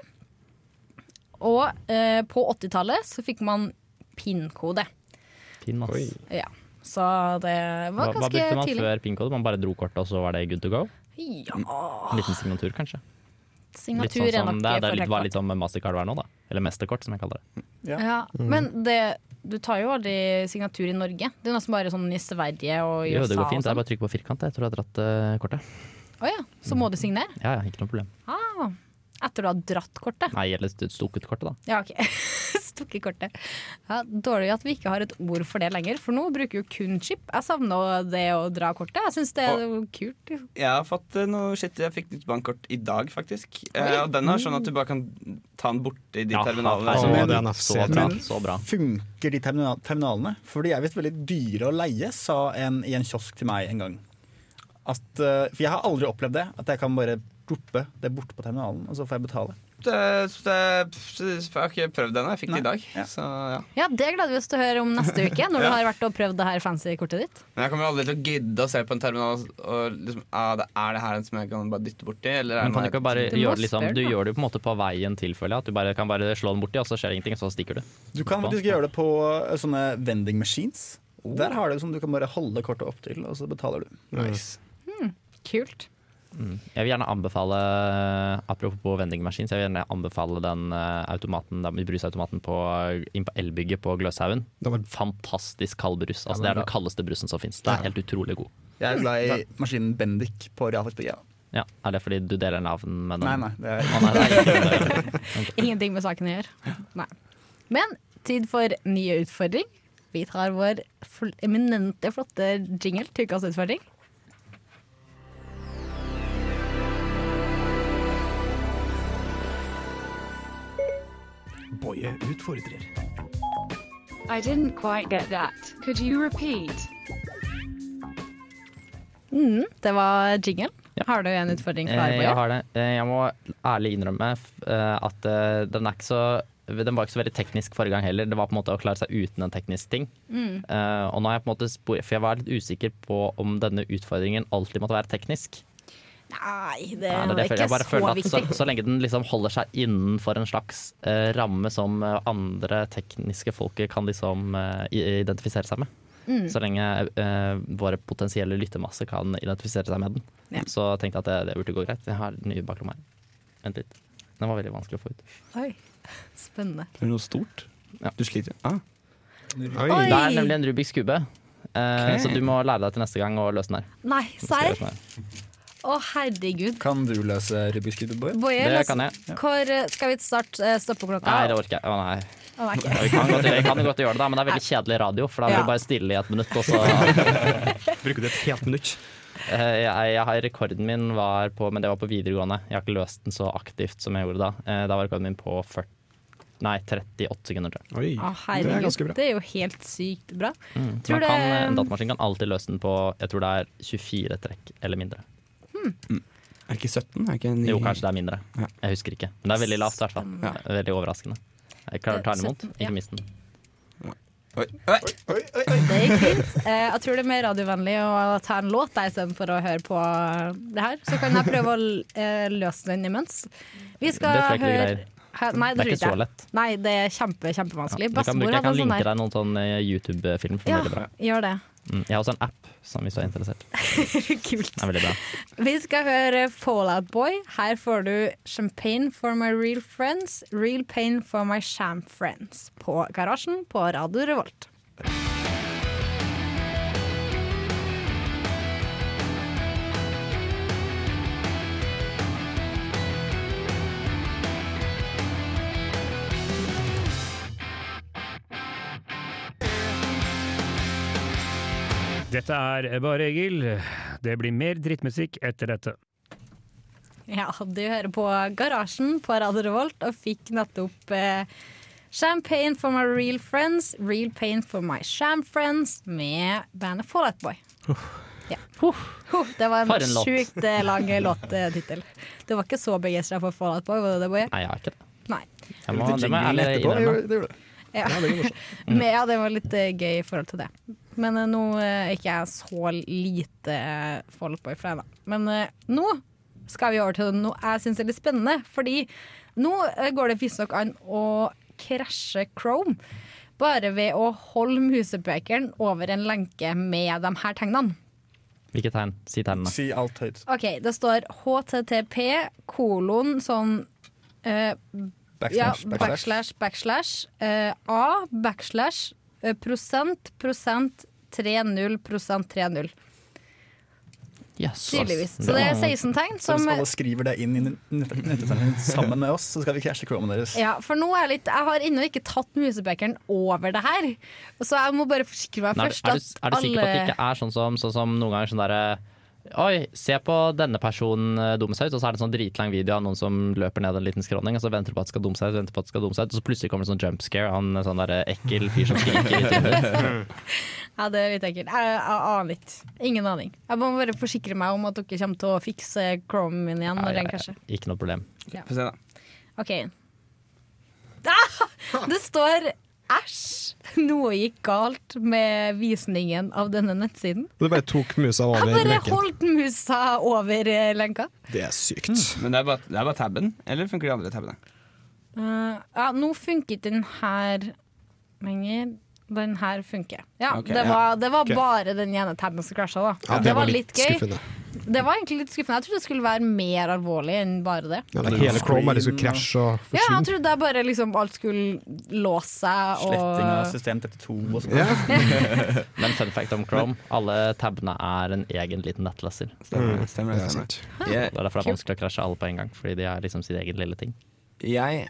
Og eh, på 80-tallet så fikk man PIN-kode.
Fin, ass.
Oi.
Ja. Så det
Hva,
var
hva
ganske
brukte man
tidlig.
før pinkode? Man bare dro kortet, og så var det good to go?
Ja,
En liten signatur, kanskje? Mm. Litt
signatur
sånn
er
som
nok
det, er- det er litt,
foretekt.
var litt sånn med mastercard var nå, da. Eller mesterkort, som jeg kaller det.
Ja, men det, du tar jo aldri signatur i Norge. Det er nesten bare sånn i Sverige og i
Jo,
USA.
det går
og
fint. Det er
sånn.
bare å trykke på firkant. Jeg tror jeg har dratt eh, kortet.
Å ja, så må du signere?
Ja, ja, ikke noe problem.
Ah, etter du har dratt kortet?
Nei, eller st- stukket kortet, da.
Ja, ok. Stukket kortet. Ja, dårlig at vi ikke har et ord for det lenger, for nå bruker jo kun chip. Jeg savner det å dra kortet. Jeg syns det er jo kult. liksom.
Jeg har fått eh, noe shit. Jeg fikk nytt bankkort i dag, faktisk. Eh, og den har sånn at du bare kan ta den borti de
Ja,
terminalene.
herregud.
som-
Å,
men-
det er NFC.
Så bra.
Men-
Så bra.
Funker de termina- terminalene? For de er visst veldig dyre å leie, sa en i en kiosk til meg en gang. At, eh, for jeg har aldri opplevd det, at jeg kan bare droppe det borte på terminalen, og så får jeg betale.
Eh, så det- pff, Jeg har ikke prøvd det ennå. Jeg fikk det i dag.
Ja.
Så, ja.
Ja, Det gleder vi oss til å høre om neste uke, når du
Ja.
har vært og prøvd det her fancy kortet ditt.
Men jeg kommer aldri til å gidde å se på en terminal og liksom, ah, det Er det her en som jeg kan bare dytte borti? Eller er
Men kan du
det
ikke bare
Du må
gjøre det liksom
spørre,
Du
da.
gjør det jo på en måte på veien til, føler jeg. At du bare kan bare slå den borti, og så skjer ingenting, og så stikker du.
Du kan faktisk gjøre det på eh, sånne vending machines. Der har du som du kan bare holde kortet opp til, og så betaler du.
nice.
Kult.
Jeg vil gjerne anbefale, apropos vending machines, jeg vil gjerne anbefale den eh, automaten, den brusautomaten på, inn på elbygget på Gløshaugen.
Det var
Fantastisk kald brus. Altså, det er den kaldeste brusen som fins. Det er helt utrolig god.
Jeg er glad i maskinen Bendik på Realfagsbygget.
Ja, Er det fordi du deler navn med den?
Nei, nei, det er
Å, nei, det er ikke det.
Ingenting med saken å gjøre. Nei. Men tid for nye utfordring. Vi tar vår fl eminente, flotte jingle til ukas utfordring.
Boje utfordrer.
I didn't quite get that. Could you repeat?
Mm, det var jingle.
Ja.
Har du en utfordring klar,
Eh, Jeg
Boje?
har det. Eh, Jeg må ærlig innrømme f- eh, at eh, den er ikke så den var ikke så veldig teknisk forrige gang heller. Det var på en måte å klare seg uten en teknisk ting.
Mm.
Eh, og nå har jeg på en måte spor, For jeg var litt usikker på om denne utfordringen alltid måtte være teknisk.
Nei, det
Er det
var
det
ikke
jeg føler? jeg bare
så
føler at så,
viktig.
så lenge den liksom holder seg innenfor en slags eh, ramme som eh, andre tekniske folk kan liksom eh, i- identifisere seg med.
Mm.
Så lenge eh, våre potensielle lyttemasse kan identifisere seg med den.
Ja.
Så tenkte jeg at det, det burde gå greit. Jeg har den nye baklomma her. Vent litt. Den var veldig vanskelig å få ut.
Oi, spennende.
Er det noe stort?
Ja.
Du sliter? Ah.
Oi.
Det er nemlig en Rubiks kube. eh,
Ok.
Så du må lære deg til neste gang å løse den her.
Nei,
Du skal
serr?
løse den her.
Å, herregud.
Kan du løse Rubiks kube, Bård?
Boje,
Det
løs-
kan jeg.
Hvor eh, skal vi starte eh, stoppeklokka?
Nei, det orker jeg. Å, nei.
Å, nei, ikke.
Ja, Vi kan godt, vi kan jo godt gjøre det, da, men det er veldig kjedelig radio, for da blir
Ja.
det bare stille i et minutt, og så
Bruker du et helt minutt?
Eh, Jeg, jeg har Rekorden min var på Men det var på videregående. Jeg har ikke løst den så aktivt som jeg gjorde da. Eh, Da var rekorden min på 40, nei, 38 sekunder. Tror
Oi,
jeg.
Å,
det er
herregud.
ganske bra.
Det er jo helt sykt bra.
Så
Tror
man kan, eh,
det-
en datamaskin kan alltid løse den på jeg tror det er 24 trekk eller mindre.
Er det ikke 17? Er det ikke ni-
Jo, kanskje det er mindre.
Ja.
Jeg husker ikke. Men det er veldig lavt, i hvert fall.
Ja.
Veldig overraskende. Jeg klarer å ta den imot,
17, ja.
ikke mist den.
Oi. Oi.
Det gikk fint. Eh, jeg tror det er mer radiovennlig å ta en låt der istedenfor å høre på det her. Så kan jeg prøve å l- eh, løse den imens. Vi
Det
skal
tror jeg ikke du
høre
greier.
Hæ? Nei, det,
Det er ikke
tror jeg.
så lett.
Nei, det er kjempe, kjempevanskelig.
Du kan, du,
Bestemor
jeg
hadde
kan
en sånn
linke
der.
deg noen sånn eh, YouTube-film. som er
Ja,
veldig bra.
gjør det.
Mm, jeg har også en app, som hvis du er interessert.
Kult.
Den er veldig bra.
Vi skal høre Fallout Boy. Her får du Champagne for my real friends, Real pain for my sham friends. På Garasjen på Radio Revolt.
Dette er Bare Egil. Det blir mer drittmusikk etter dette.
Ja, du hører på Garasjen på Radio Revolt og fikk nettopp eh, Champagne for my real friends, Real pain for my sham friends med bandet Fallout Boy. Ja. Huh, det var
For
en
en låt.
sjukt eh, lang låttittel. Du var ikke så begeistra for Fallout Boy, var du det, Boje?
Nei, jeg har ikke det.
Nei.
Jeg må, det må jeg ærlig innrømme.
Ja.
Ja, det er morsomt.
Men ja, det var litt eh, gøy i forhold til det. Men eh, nå eh, er ikke jeg så lite eh, Fallout Boy for deg, da. Men eh, nå skal vi over til noe jeg syns er litt spennende. Fordi nå eh, går det visstnok an å krasje Chrome bare ved å holde musepekeren over en lenke med de her tegnene.
Hvilke tegn? Si tegnene.
Si alt høyt.
OK, det står HTTP kolon sånn eh,
Backslash,
ja,
backslash.
backslash, backslash eh, A backslash eh, prosent prosent 30 prosent 30.
Yes,
Tydeligvis. Så det er 16 tegn
Så
som
hvis alle skriver det inn i nettutsendelsen sammen med oss, så skal vi krasje chromen deres.
ja, for nå er jeg litt Jeg har ennå ikke tatt musepekeren over det her, så jeg må bare forsikre meg
Men Er,
først
du- er, du, er du sikker på at det ikke er sånn som, sånn som noen ganger sånn derre Oi, se på denne personen eh, dumme seg ut, og så er det en sånn dritlang video av noen som løper ned en liten skråning, og så venter du på at det skal dumme seg ut, venter på at det skal dumme seg ut, og så plutselig kommer det sånn jump scare av en sånn derre ekkel fyr som skriker i trynet.
Ja, det er litt ekkelt. Jeg, jeg aner ikke. Ingen aning. Jeg må bare forsikre meg om at dere kommer til å fikse Chromen min igjen når den krasjer.
Ikke noe problem.
Ja.
Få se, da.
OK. Ah, det står Æsj! Noe gikk galt med visningen av denne nettsiden.
Og du bare tok musa over
Jeg bare
lenken.
holdt musa over eh, lenka.
Det er sykt.
Hmm.
Men det er, bare, det er bare tabben, eller funker de andre tabbene?
Eh, ja, nå funket den her lenger. Den her funker. Ja,
Ok,
det
ja.
var, det var
Ok.
bare den ene tabben som krasja, da.
Ja,
det, var litt gøy.
skuffende.
Det var egentlig litt skuffende. Jeg trodde det skulle være mer alvorlig enn bare det.
Ja, det er hele Chrome bare skulle krasje og
Ja, jeg
forsvinne.
trodde det bare liksom alt skulle låse seg og
Sletting altså. av system 32 og sånn.
Men fun fact om Chrome, alle tabene er en egen liten nettleser.
Mm.
Stemmer, stemmer, Det er stemmer. sant.
Det er derfor det er vanskelig å krasje alle på en gang, fordi de har liksom sin egen lille ting.
Jeg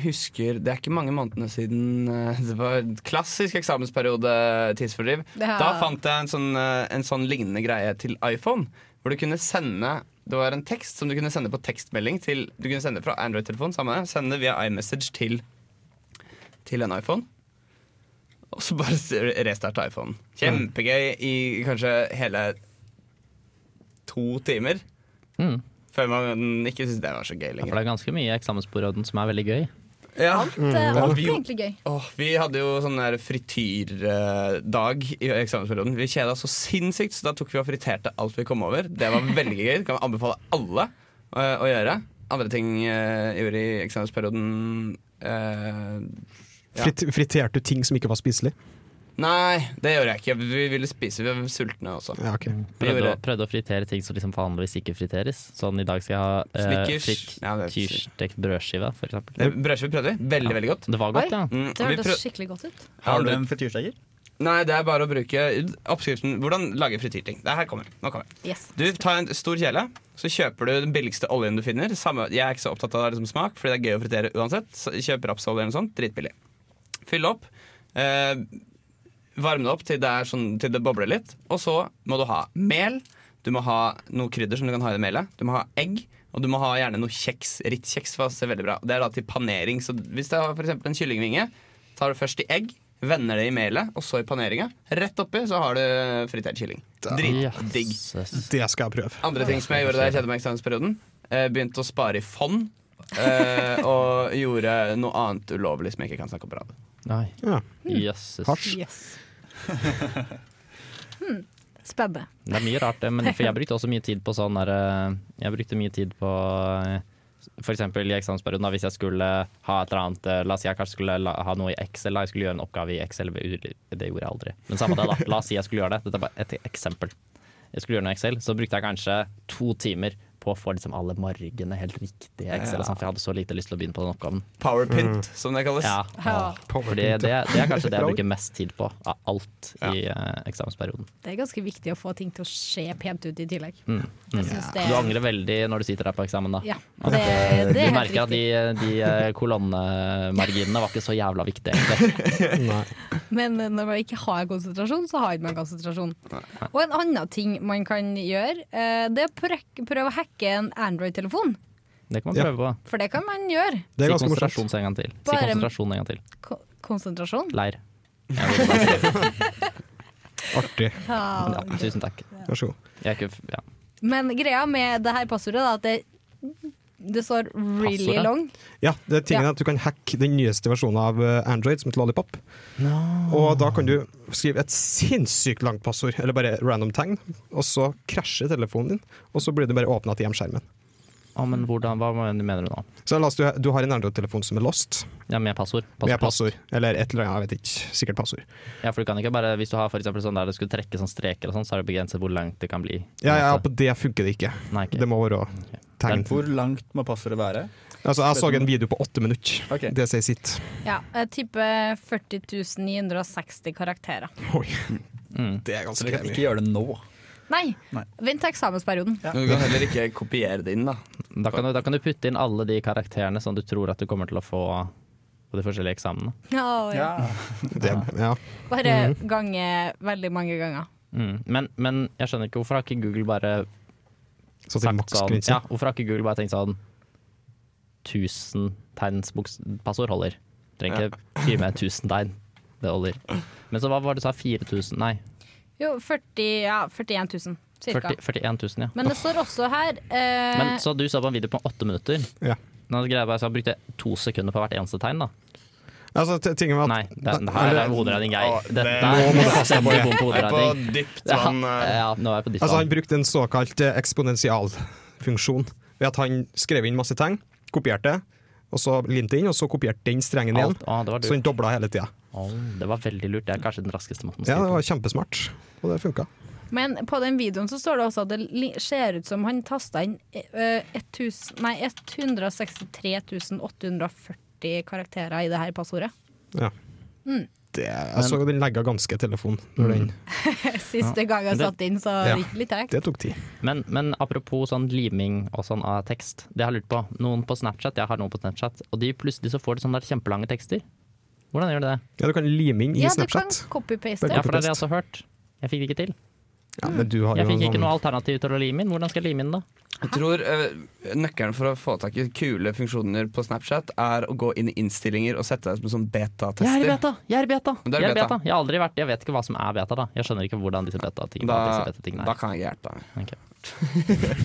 husker Det er ikke mange månedene siden eh, Det var en klassisk eksamensperiode tidsfordriv.
Ja.
Da fant jeg en sånn, eh, en sånn lignende greie til iPhone, hvor du kunne sende det var en tekst som du kunne sende på tekstmelding til Du kunne sende fra Android-telefon, samme, sende via iMessage til, til en iPhone. Og så bare s- restarte iPhonen. Kjempegøy i kanskje hele to timer.
Mm.
Før man ikke syntes det var så gøy
Ja,
lenger.
for det er ganske mye i eksamensperioden som er veldig gøy.
Ja.
Det er Mm.
Og
alltid
vi,
egentlig gøy.
åh, vi hadde jo sånn der frityrdag i eksamensperioden. Vi kjeda oss så sinnssykt, så da tok vi og friterte alt vi kom over. Det var veldig gøy. Det kan anbefale alle eh, å gjøre. Andre ting eh, jeg gjorde i eksamensperioden eh, ja.
Frit, friterte du ting som ikke var spiselig?
Nei, det gjorde jeg ikke. Vi ville spise, vi var sultne også.
Ja, ok.
Hmm.
Vi
Prøvde,
gjorde
å, prøvde å fritere ting som liksom vanligvis ikke friteres. Sånn i dag skal jeg ha eh,
Snickers.
fritt tyrstekt brødskive, for eksempel.
Det Eh, brødskive prøvde vi. Veldig, veldig godt.
Det var
Oi,
godt, ja.
Mm,
det
vi prøv-
hørtes skikkelig godt ut.
Har du en frityrsteker?
Nei, det er bare å bruke oppskriften Hvordan lage frityrting. Det her kommer. Nå kommer.
Yes.
Du tar en stor kjele, så kjøper du den billigste oljen du finner. Samme, jeg er ikke så opptatt av liksom smak, fordi det er gøy å fritere uansett. Så kjøp rapsolje eller noe sånt. Dritbillig. Fyll opp. Eh, varm det opp til det, er sånn, til det bobler litt. Og så må du ha mel. Du må ha noe krydder som du kan ha i det melet. Du må ha egg. Og du må ha gjerne noe kjeks. Rittkjeks for det ser veldig bra. Det er da til panering. Så hvis det er for eksempel en kyllingvinge, tar du først i egg, vender det i melet, og så i paneringa. Rett oppi så har du fritert kylling. Dritdigg.
Det skal jeg prøve.
Andre ting som jeg gjorde da jeg kjeda meg i eksamensperioden, eh, begynte å spare i fond. eh, og gjorde noe annet ulovlig som jeg ikke kan snakke om på radio.
Nei.
Ja.
Jøsses.
Yes. Hmm. Spennende.
Det er mye rart, det, men for jeg brukte også mye tid på sånn der eh, Jeg brukte mye tid på eh, for eksempel i eksamensperioden, da, hvis jeg skulle ha et eller annet eh, La oss si jeg kanskje skulle la, ha noe i Excel, da. jeg skulle gjøre en oppgave i Excel, det gjorde jeg aldri. Men samme det, da. La oss si jeg skulle gjøre det. Dette er bare et eksempel. Jeg skulle gjøre noe i Excel, så brukte jeg kanskje to timer på å få liksom alle margene helt riktig i Excel, og sånn, for jeg hadde så lite lyst til å begynne på den oppgaven.
Powerpint, som det kalles.
Ja,
Ja.
Fordi det, det er kanskje det jeg bruker mest tid på av alt i eh, eksamensperioden.
Det er ganske viktig å få ting til å se pent ut i tillegg. Jeg synes det,
Mm. Du angrer veldig når du sitter der på eksamen, da.
Ja, det, det
du
er helt
merker at de,
riktig.
de eh, kolonnemarginene var ikke så jævla viktige, egentlig.
Nei.
Men eh, når man ikke har konsentrasjon, så har man konsentrasjon. Og en annen ting man kan gjøre, eh, det er å prøk- prøve å hacke en Android-telefon.
Det kan man
Ja.
prøve på.
For det kan man gjøre.
Det er
Si
ganske morsomt.
konsentrasjon en gang til. Si
Bare-
konsentrasjon en gang til.
Ko konsentrasjon.
Leir.
Artig.
Ja.
Ja, tusen takk.
Vær så god.
Jeg er ikke, f- ja.
Men greia med det her passordet er at det, det står 'really
Passordet?
long'.
Ja, det er tingen
Ja.
er at du kan hacke den nyeste versjonen av eh, Android, som heter Lollipop. Og da kan du skrive et sinnssykt langt passord, eller bare random tegn, og så krasjer telefonen din, og så blir det bare åpna til hjemskjermen.
Å, men hvordan, hva mener du nå?
Så la oss, du, du har en Android-telefon som er lost,
Ja, med passord.
med
Passord.
passord, eller et eller annet, jeg vet ikke, sikkert passord.
Ja, for du kan ikke bare, Hvis du har for eksempel sånn der du skulle trekke sånn streker, og sånn, så er det begrenset hvor langt det kan bli.
Ja, ja, på det funker det ikke.
Nei, ok.
Det må være tegn.
Hvor langt må passordet være?
Altså, jeg så en video på åtte minutter.
Ok.
Det sier sitt.
Ja, jeg tipper 40 960 karakterer.
Det er
Så
ganske
dere kan ikke
mye.
gjøre det nå.
Nei,
Nei.
vent til eksamensperioden.
Men du kan heller ikke kopiere det inn, da.
Da kan, du, da kan du putte inn alle de karakterene som du tror at du kommer til å få på de forskjellige eksamene.
Å, ja. Mhm.
Det, ja.
Bare gange veldig mange ganger.
Mm. Men, men jeg skjønner ikke, hvorfor har ikke Google bare
Så til
sagt sånn
maksgrense.
ja, Hvorfor har ikke Google bare tenkt sånn 1000 tegns boks- passord holder? Trenger ikke skrive med 1000 tegn. Det holder. Men så hva var det du sa? 4000? Nei,
Jo, 40, ja, 41 000 cirka.
40, 41 000, ja.
Men det står også her eh,
Men så du så på en video på åtte minutter.
Ja.
Nå greide jeg bare, så jeg brukte to sekunder på hvert eneste tegn, da.
Altså, t- tingen var at
Nei, det, det her er hoderegning,
Å,
jeg.
det-
Dette
Nå
er
må du passe
bestemt bom på
Jeg er på
hoderegning.
dypt
Ja,
vann. eh.
ja, nå er jeg på dypt
Altså, han
vann.
brukte en såkalt eh, eksponentialfunksjon. Ved at han skrev inn masse tegn, kopierte, og så limte inn, og så kopierte den strengen igjen.
Alt. Å, det var
Så
lurt.
han dobla hele tida.
Å, det var veldig lurt. Det er kanskje den raskeste måten å
Ja, det
skrive på.
var kjempesmart, og det funka.
Men på den videoen så står det også at det li- ser ut som han tasta inn eh, 1000 nei, 163 840 karakterer i det her passordet.
Ja.
Mm.
Det, jeg så jo den legga ganske telefonen.
Mm.
Når den,
Siste gang jeg
Men det-
satt inn, så
Ja.
gikk det litt tregt.
det tok tid.
Men, men apropos sånn liming og sånn av tekst. Det jeg har lurt på. Noen på Snapchat, jeg har noen på Snapchat, og de plutselig så får de sånne der kjempelange tekster. Hvordan gjør de det?
Ja, du kan lime inn i
Ja, du kan
Snapchat.
copy-paste.
Det
Ja,
Ja.
for det har jeg også hørt. Jeg fikk det ikke til.
Ja, men du har
Jeg
jo
fikk ikke
noen- sånn-
noe alternativ til å lime inn. Hvordan skal jeg lime inn da?
Jeg tror eh, nøkkelen for å få tak i kule funksjoner på Snapchat er å gå inn i innstillinger og sette deg som en sånn
Jeg er i
betatester.
beta! Jeg er i beta!
Det er
Jeg, er i
beta.
beta. jeg har aldri vært Jeg vet ikke hva som er beta, da. Jeg skjønner ikke hvordan disse beta-tingene
Da,
disse beta-tingene
da
er.
kan jeg ikke hjelpe deg.
Ok.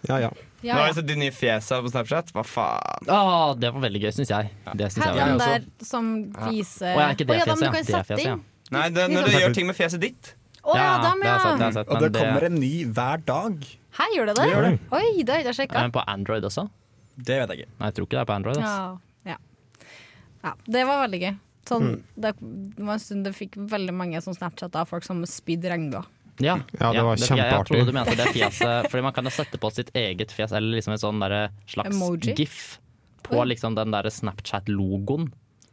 Ja, ja.
Nå
Ja,
har jeg sett de nye fjesa på Snapchat. Hva faen?
Å, Ah, det var veldig gøy, syns jeg. Det synes
Her,
jeg
Ja,
var
den
gøy.
ja,
der som viser
Å ja, ikke det
Å ja, da,
fjeset,
men
ja.
du kan
Det
sette
fjeset, ja.
inn.
Nei, det, er når du
Liksom-
gjør ting med fjeset ditt.
Å ja, dem,
det har jeg sett, det har
ja.
jeg sett.
Og det
Men
kommer
det,
en ny hver dag.
Her gjør det det? Oi, det har jeg ikke sjekka.
er den på Android også?
Det vet jeg ikke.
Nei, jeg tror ikke det er på Android. altså. ass.
Ja, ja. ja. Det var veldig gøy. Sånn,
Mm.
det var en stund det fikk veldig mange sånn Snapchat av folk som spydde regnbue.
Ja,
Ja, det var
fikk jeg, jeg
kjempeartig.
trodde du mente det fjeset Fordi man kan jo sette på sitt eget fjes, eller liksom en sånn derre slags
Emoji?
gif på
Oi.
liksom den derre Snapchat-logoen.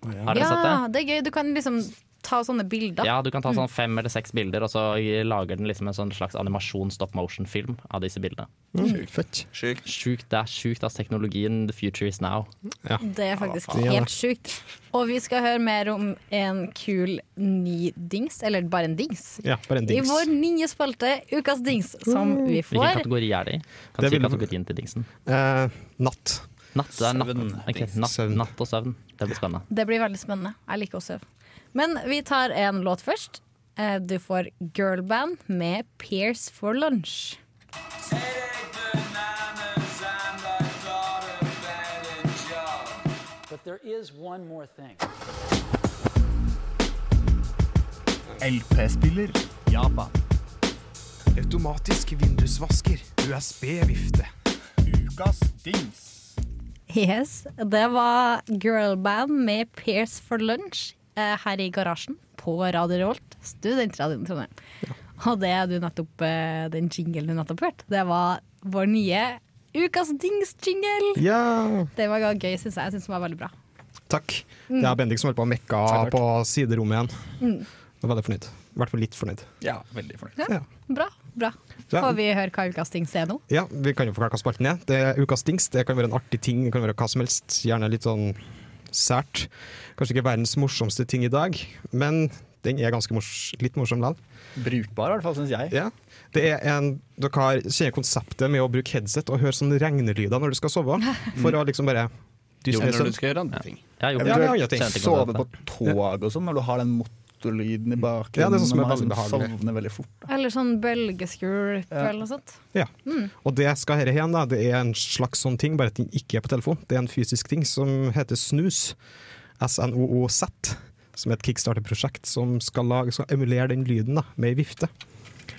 Har dere sett det?
Ja, det er gøy. Du kan liksom ta sånne bilder.
Ja, du kan ta sånn fem eller seks bilder, og så lager den liksom en sånn slags animasjon stop motion-film av disse bildene.
Mm. Fett.
Sjukt.
Sjukt, det er sjukt, ass. Teknologien, the future is now.
Det er faktisk
Ja,
helt sjukt. Og vi skal høre mer om en kul ny dings, eller bare en dings.
Ja, bare en
I
dings.
vår nye spalte, Ukas dings, som vi
Hvilken
får.
kategori er det i? Kan
Det
du si
vil-
kategorien til dingsen?
Eh, natt.
Natt, det er natt. Ok, natt,
Søvn.
natt og søvn. Det blir spennende.
Det blir veldig spennende. Jeg liker å søve. Men vi tar en låt først. Eh, Du får girlband med Pears for lunch.
LP-spiller. Japan.
Automatisk vindusvasker. USB-vifte.
Ukas dings.
Yes, Det var girlband med Pairs for Lunch eh, her i garasjen på Radio Revolt, studentradioen i Trondheim. Og det du nettopp, eh, den jinglen du nettopp hørte, det var vår nye Ukas dings-jingle!
Ja.
Det var gøy, syns jeg. Jeg synes den var veldig bra.
Takk. Det er Bendik som holder på å mekka
Takk.
på siderommet igjen.
Mm.
Jeg er veldig fornøyd. I hvert fall litt fornøyd.
Ja, veldig fornøyd.
Ja, bra. bra.
Ja.
Får vi høre hva Ukas dings er nå?
Ja, Vi kan jo forklare hva spalten er. Det er Ukas dings. Det kan være en artig ting, det kan være hva som helst. Gjerne litt sånn sært. Kanskje ikke verdens morsomste ting i dag, men den er ganske mors litt morsom likevel.
Brukbar, i hvert fall, syns jeg.
Ja. Det er en, dere har, kjenner konseptet med å bruke headset og høre sånne regnelyder når du skal sove. For å liksom bare
Jo,
dysse ned
når
søvn.
du skal gjøre andre ting.
Jeg har
Ja,
gjort det.
det er andre ting.
Kjente ikke noe
Sove
til
på
dette.
tog og sånn, når du har den motorlyden i bakgrunnen.
Ja, det er sånn som
og
er
man liksom
veldig behagelig.
Sovner veldig fort. da.
Eller sånn bølgeskulp
Ja.
eller noe sånt?
Ja. Og det skal her igjen, da. Det er en slags sånn ting, bare at den ikke er på telefon. Det er en fysisk ting som heter snus. S-N-O-O-Z. Som er et kickstarter-prosjekt som skal, lage, skal emulere den lyden da, med ei vifte.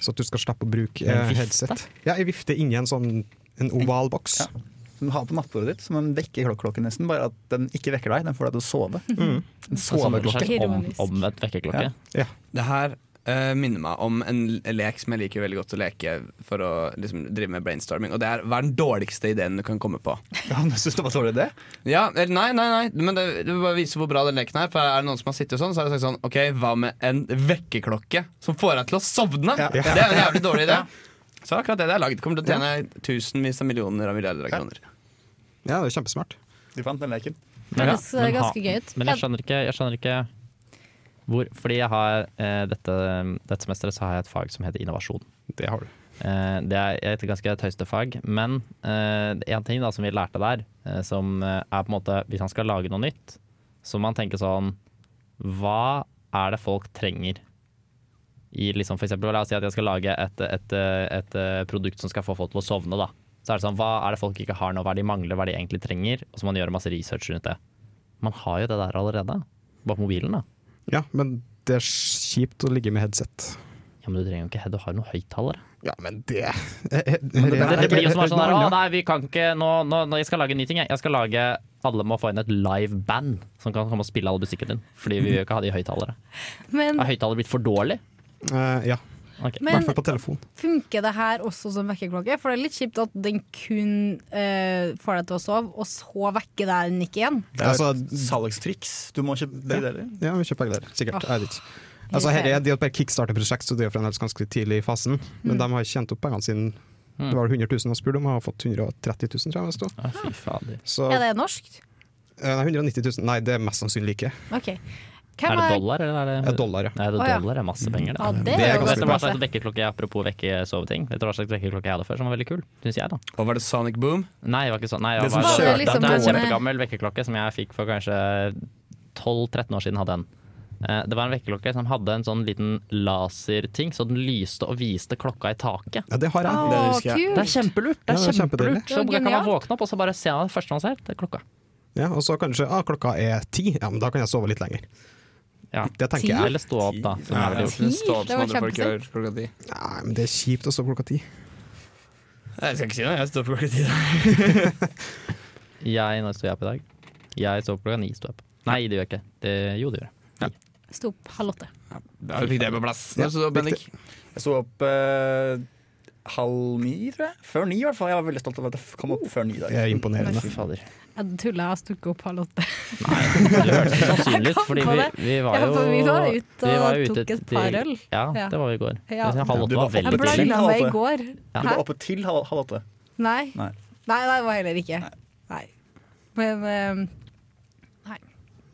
Så at du skal slippe å bruke
Med en
eh,
vifte?
headset. Ja, ei vifte inni en sånn en oval boks.
Ja. Som du har på nattbordet ditt, som en vekkerklokke nesten, bare at den ikke vekker deg, den får deg til å sove. En
Det er sånn en
soveklokke.
slags om,
Ironisk.
omvendt vekkerklokke.
Ja.
Det her eh, minner meg om en l- lek som jeg liker veldig godt å leke for å liksom, drive med brainstorming. Og det er hva er den dårligste ideen du kan komme på?
Ja, men jeg synes det var dårlig idé.
Ja, eller nei, nei, nei, men det, det vil bare viser hvor bra den leken er. For er det noen som har sittet sånn, så har de sagt sånn OK, hva med en vekkerklokke som får deg til å sovne?
Ja.
Det er en jævlig dårlig idé. Så akkurat det de har lagd, kommer til å tjene tusenvis av millioner av milliarder av
Ja.
kroner.
Ja, det er kjempesmart.
Du fant den leken.
Det høres eh, ganske gøy ut.
Men jeg skjønner ikke, jeg skjønner ikke hvor, fordi jeg har eh, dette, dette semesteret så har jeg et fag som heter innovasjon.
Det har du.
Eh, det er et ganske tøyste fag, men eh, en ting da som vi lærte der, eh, som eh, er på en måte hvis man skal lage noe nytt, så må man tenke sånn Hva er det folk trenger? I liksom for eksempel, la oss si at jeg skal lage et, et, et, eh, produkt som skal få folk til å sovne. da. Så er det sånn, Hva er det folk ikke har nå, hva er det de mangler, hva er det de egentlig trenger? Og så må man gjøre masse research rundt det. Man har jo det der allerede. Bak mobilen, da.
Ja, men det er kjipt å ligge med headset.
Ja, Men du trenger jo ikke Du har jo noen høyttalere.
Ja, men det eh, eh,
Det, det blir jo som er sånn her,
noe
å
annet.
nei, vi kan ikke, nå, nå, nå, jeg skal lage en ny ting, jeg. Jeg skal lage, alle må få inn et live band som kan komme og spille all musikken din. Fordi vi vil jo ikke ha de høyttalere.
Men,
Er høyttaler blitt for dårlig?
Eh, ja,
Ok.
i
men
hvert fall på telefon.
funker det her også som vekkerklokke? For det er litt kjipt at den kun eh, får deg til å sove, og så vekker deg den ikke igjen.
Det er
Altså,
et salgstriks. Du må kjøpe
Ja.
begge deler.
Ja, vi kjøper begge deler. Sikkert.
Åh,
jeg vet ikke. Altså, her er
irriterende.
det jo et bare kickstarter-prosjekt, så det er jo fremdeles ganske tidlig i fasen. Men de har tjent opp pengene sine. Det var vel 100 000 de spurte om, og har fått 130 000, tror jeg. det stod.
Ja, fy fader.
Så,
Er det norskt?
eh, nei, 190 000. Nei, det er mest sannsynlig ikke.
OK.
Er
Hvem
det
er
dollar, eller er
Det
det
er dollar, ja.
Nei, det
Å, ja.
er dollar, det er masse penger,
Ja,
det.
det
Det
er jo
er
Vet du hva
ganske
slags vekkerklokke jeg apropos vekke soveting? Vet du hva slags vekkerklokke jeg hadde før som var veldig kul? Synes jeg, da.
Og var det Sonic Boom?
Nei, det var ikke sånn. Nei, jeg
Det som
var,
kjørte
det, det er en
denne-
kjempegammel vekkerklokke som jeg fikk for kanskje 12-13 år siden hadde en. Eh, Det var en vekkerklokke som hadde en sånn liten laserting, så den lyste og viste klokka i taket.
Ja, det har jeg.
Det
Å,
husker jeg.
Det er
kult!
kjempelurt. Det
Ja,
er
det er kjempedeilig.
kjempelurt. Så
Det er
kan man
genialt.
våkne opp og så bare se det første man ser, det er klokka.
Ja, og så kanskje ah, klokka er ti. Ja, men da kan jeg sove litt lenger.
Ja.
Det tenker jeg.
Eller stå opp, da. Sånn Som jeg ville gjort.
Ti? Det var kjempesent.
Jeg
Nei, men det er kjipt å stå klokka ti.
skal ikke si noe, jeg står på klokka ti. da.
Jeg, når sto jeg opp i dag? Jeg sto opp klokka ni. Sto jeg opp. Nei, det gjør jeg ikke. Det, jo, det gjør jeg.
Sto opp halv åtte.
Ja, vi fikk det på plass.
Ja,
så, Bendik.
Jeg sto opp eh, halv ni, tror jeg. Før ni, i hvert fall. Jeg var veldig stolt over at jeg f- kom
Oh.
opp før ni i dag.
Det er imponerende.
Fy fader.
Jeg tulla, jeg sto ikke opp halv åtte.
Det hørtes sannsynlig ut, fordi vi, vi var
Ja,
jo
for vi var ute og
vi var
tok et
til-
par øl.
Ja,
Ja.
det var vi i går.
Ja.
Halv
Du
åtte
var
var
på
Jeg
veldig
blank.
tidlig.
blanda
halv
meg i
åtte.
går.
Du var oppe til halv, halv åtte.
Nei. Nei,
Nei.
nei, det var heller ikke. Nei. Men, eh,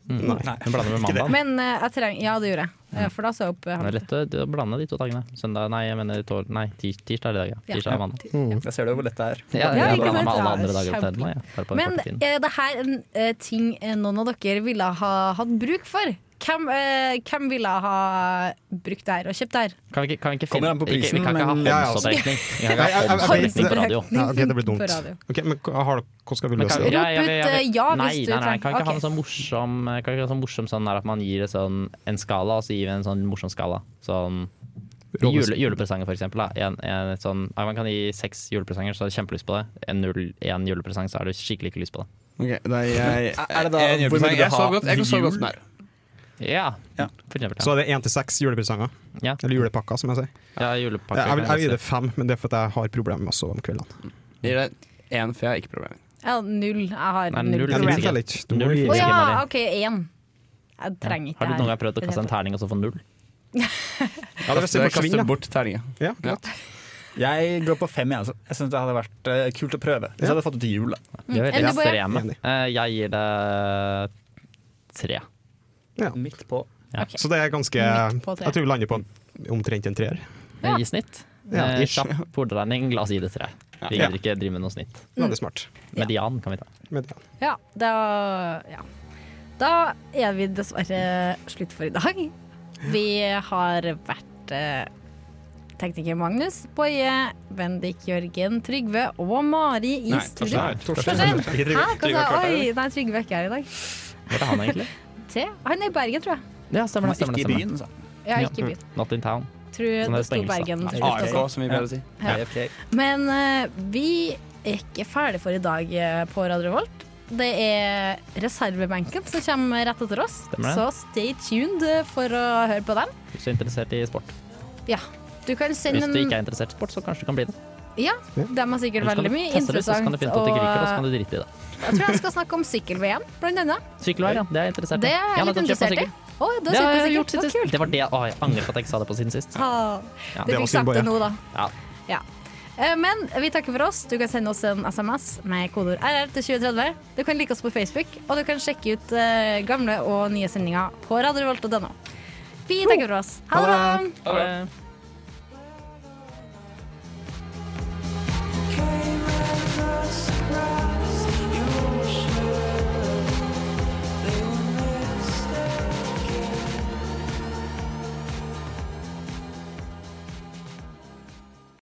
Mm.
Nei.
Hun blander med mandag.
men eh, jeg trenger Ja, det gjorde jeg. Eh, For da så jeg opp eh,
Det er
halv åtte.
lett å, å blande de to dagene. Søndag, nei, jeg mener tår, nei, tis- tirsdag er det i dag, ja.
Ja.
Tirsdag er mandag.
Jeg ser du hvor lett det er.
Ja,
Ja,
jeg
ikke
blander
sant?
med alle
Ja,
andre dager på
kjempe-
tiden. Ja. Bare på
Men
kort tid.
er det her en eh, ting eh, noen av dere ville ha hatt bruk for? Hvem, eh, hvem ville ha brukt det her og kjøpt det her?
Kan vi ikke, kan vi ikke
Kommer
finne
an på
ikke, Vi
prisen,
kan ikke ha
men- altså.
Ja, ja,
håndsopprekning. Vi
Nei,
kan ikke
jeg- jeg-
ha
jeg-
håndsopprekning på radio.
Håndsopprekning
Ja, ok, det blir
på
dumt.
radio.
Ok, men hva- har, dere- hvordan skal vi
Men
løse
kan-
det?
ja. Putt, eh, ja,
nei,
hvis du
nei, nei,
trenger-
kan ikke ha
ok.
en sånn morsom Kan ikke ha en sånn morsom sånn der at man gir det sånn en skala, og så gir vi en sånn morsom skala. Sånn Jule, julepresanger, for eksempel. Da. En, en, et sånn, ja, man kan gi seks julepresanger, så har du kjempelyst på det. En, null, en julepresang, så har du skikkelig ikke lyst på det.
Ok, nei, jeg,
Er det da-
jeg, jeg,
hvor burde du
sånn. jeg, så
ha
godt, jeg kan så
jul?
godt den her.
Ja,
Ja.
for eksempel.
Så er det én til seks julepresanger.
Ja.
Eller julepakker, som jeg sier.
Ja,
Jeg,
julepakke.
jeg, vil,
kan
jeg vil gi
jeg
det fem, men det er fordi jeg har problemer med å sove om kveldene.
Gir deg én, for jeg har ikke problemer.
Ja, null. Jeg har
Nei,
null.
null.
Ja,
problem.
du
Null.
teller ikke. Du må
Null.
gi-
Å
Å
ja,
Marie.
OK, én. Jeg trenger ikke
Har du
det
noen
her.
gang prøvd å kaste en terning og så få null?
Ja,
hvis det forsvinner, da.
bort terninga.
Ja,
Ja.
greit.
Jeg går på fem, jeg. Altså. Jeg syns det hadde vært eh, kult å prøve. Hvis jeg hadde fått det til jul, da.
De er veldig
Mm. Eller bare-
ekstreme. Eh, Jeg gir det tre.
Midt på.
Ok.
Så det er ganske Jeg
Midt på tre.
tror vi lander på en- omtrent en treer.
Ja.
I snitt.
Ja,
Eh,
ish.
Kjapp hoderegning, la oss gi det tre. Vi
Ja.
gidder ikke drive med noe snitt.
Veldig smart.
Median kan vi ta.
Men ja.
Ja, da ja. Da er vi dessverre slutt for i dag. Vi har vært eh, tekniker Magnus, Boje, Bendik, Jørgen, Trygve og Mari i studio. Torstein! Hæ? Hva sa jeg? Oi, nei, Trygve er ikke her i dag.
Hvor er han egentlig?
Se, Han er i Bergen, tror jeg.
Ja, stemmer
Ikke
det. stemmer det,
i
stemmer det.
byen, altså. sa
Ja,
Ja.
ikke i byen.
Not in town.
Tror
Sånn er
det
det på
sto
engelsk, da.
Bergen til slutt
AFK,
også.
som vi pleier å si.
Ja.
jeg. Ok.
Men eh, vi er ikke ferdig for i dag eh, på Radio Revolt. Det er reservebenken som kommer rett etter oss,
Stemmer det.
så stay tuned eh, for å høre på dem.
Hvis du er interessert i sport.
Ja, du kan sende
Hvis du
en
ikke er interessert i sport, så kanskje du kan bli det.
Ja, de har sikkert
Eller så kan
veldig
du
mye
teste det, så
interessant.
kan du finne ut at det griker, og så kan
og
du drite i det.
jeg tror jeg skal snakke om sykkel-VM, blant annet.
Sykkelvær, ja. Det er jeg interessert i.
Det er
Jeg
jeg
har
litt
nettopp kjøpt meg
interessert i.
sykkel.
Å, du
Det
har
har
kjøpt
jeg
deg
gjort
sykkel?
siden
Så
sist.
kult.
Det var det. Å, jeg angrer på at jeg ikke sa det på siden sist.
Ah,
Ja,
Du
det
fikk
var synd,
sagt det
Boje.
nå, da.
Ja.
Ja. Eh, Men vi takker for oss. Du kan sende oss en SMS med kodeord RR til 2030. Du kan like oss på Facebook, og du kan sjekke ut eh, gamle og nye sendinger på radiorevolt.no. Vi takker for oss. Ha det bra!
Ha det.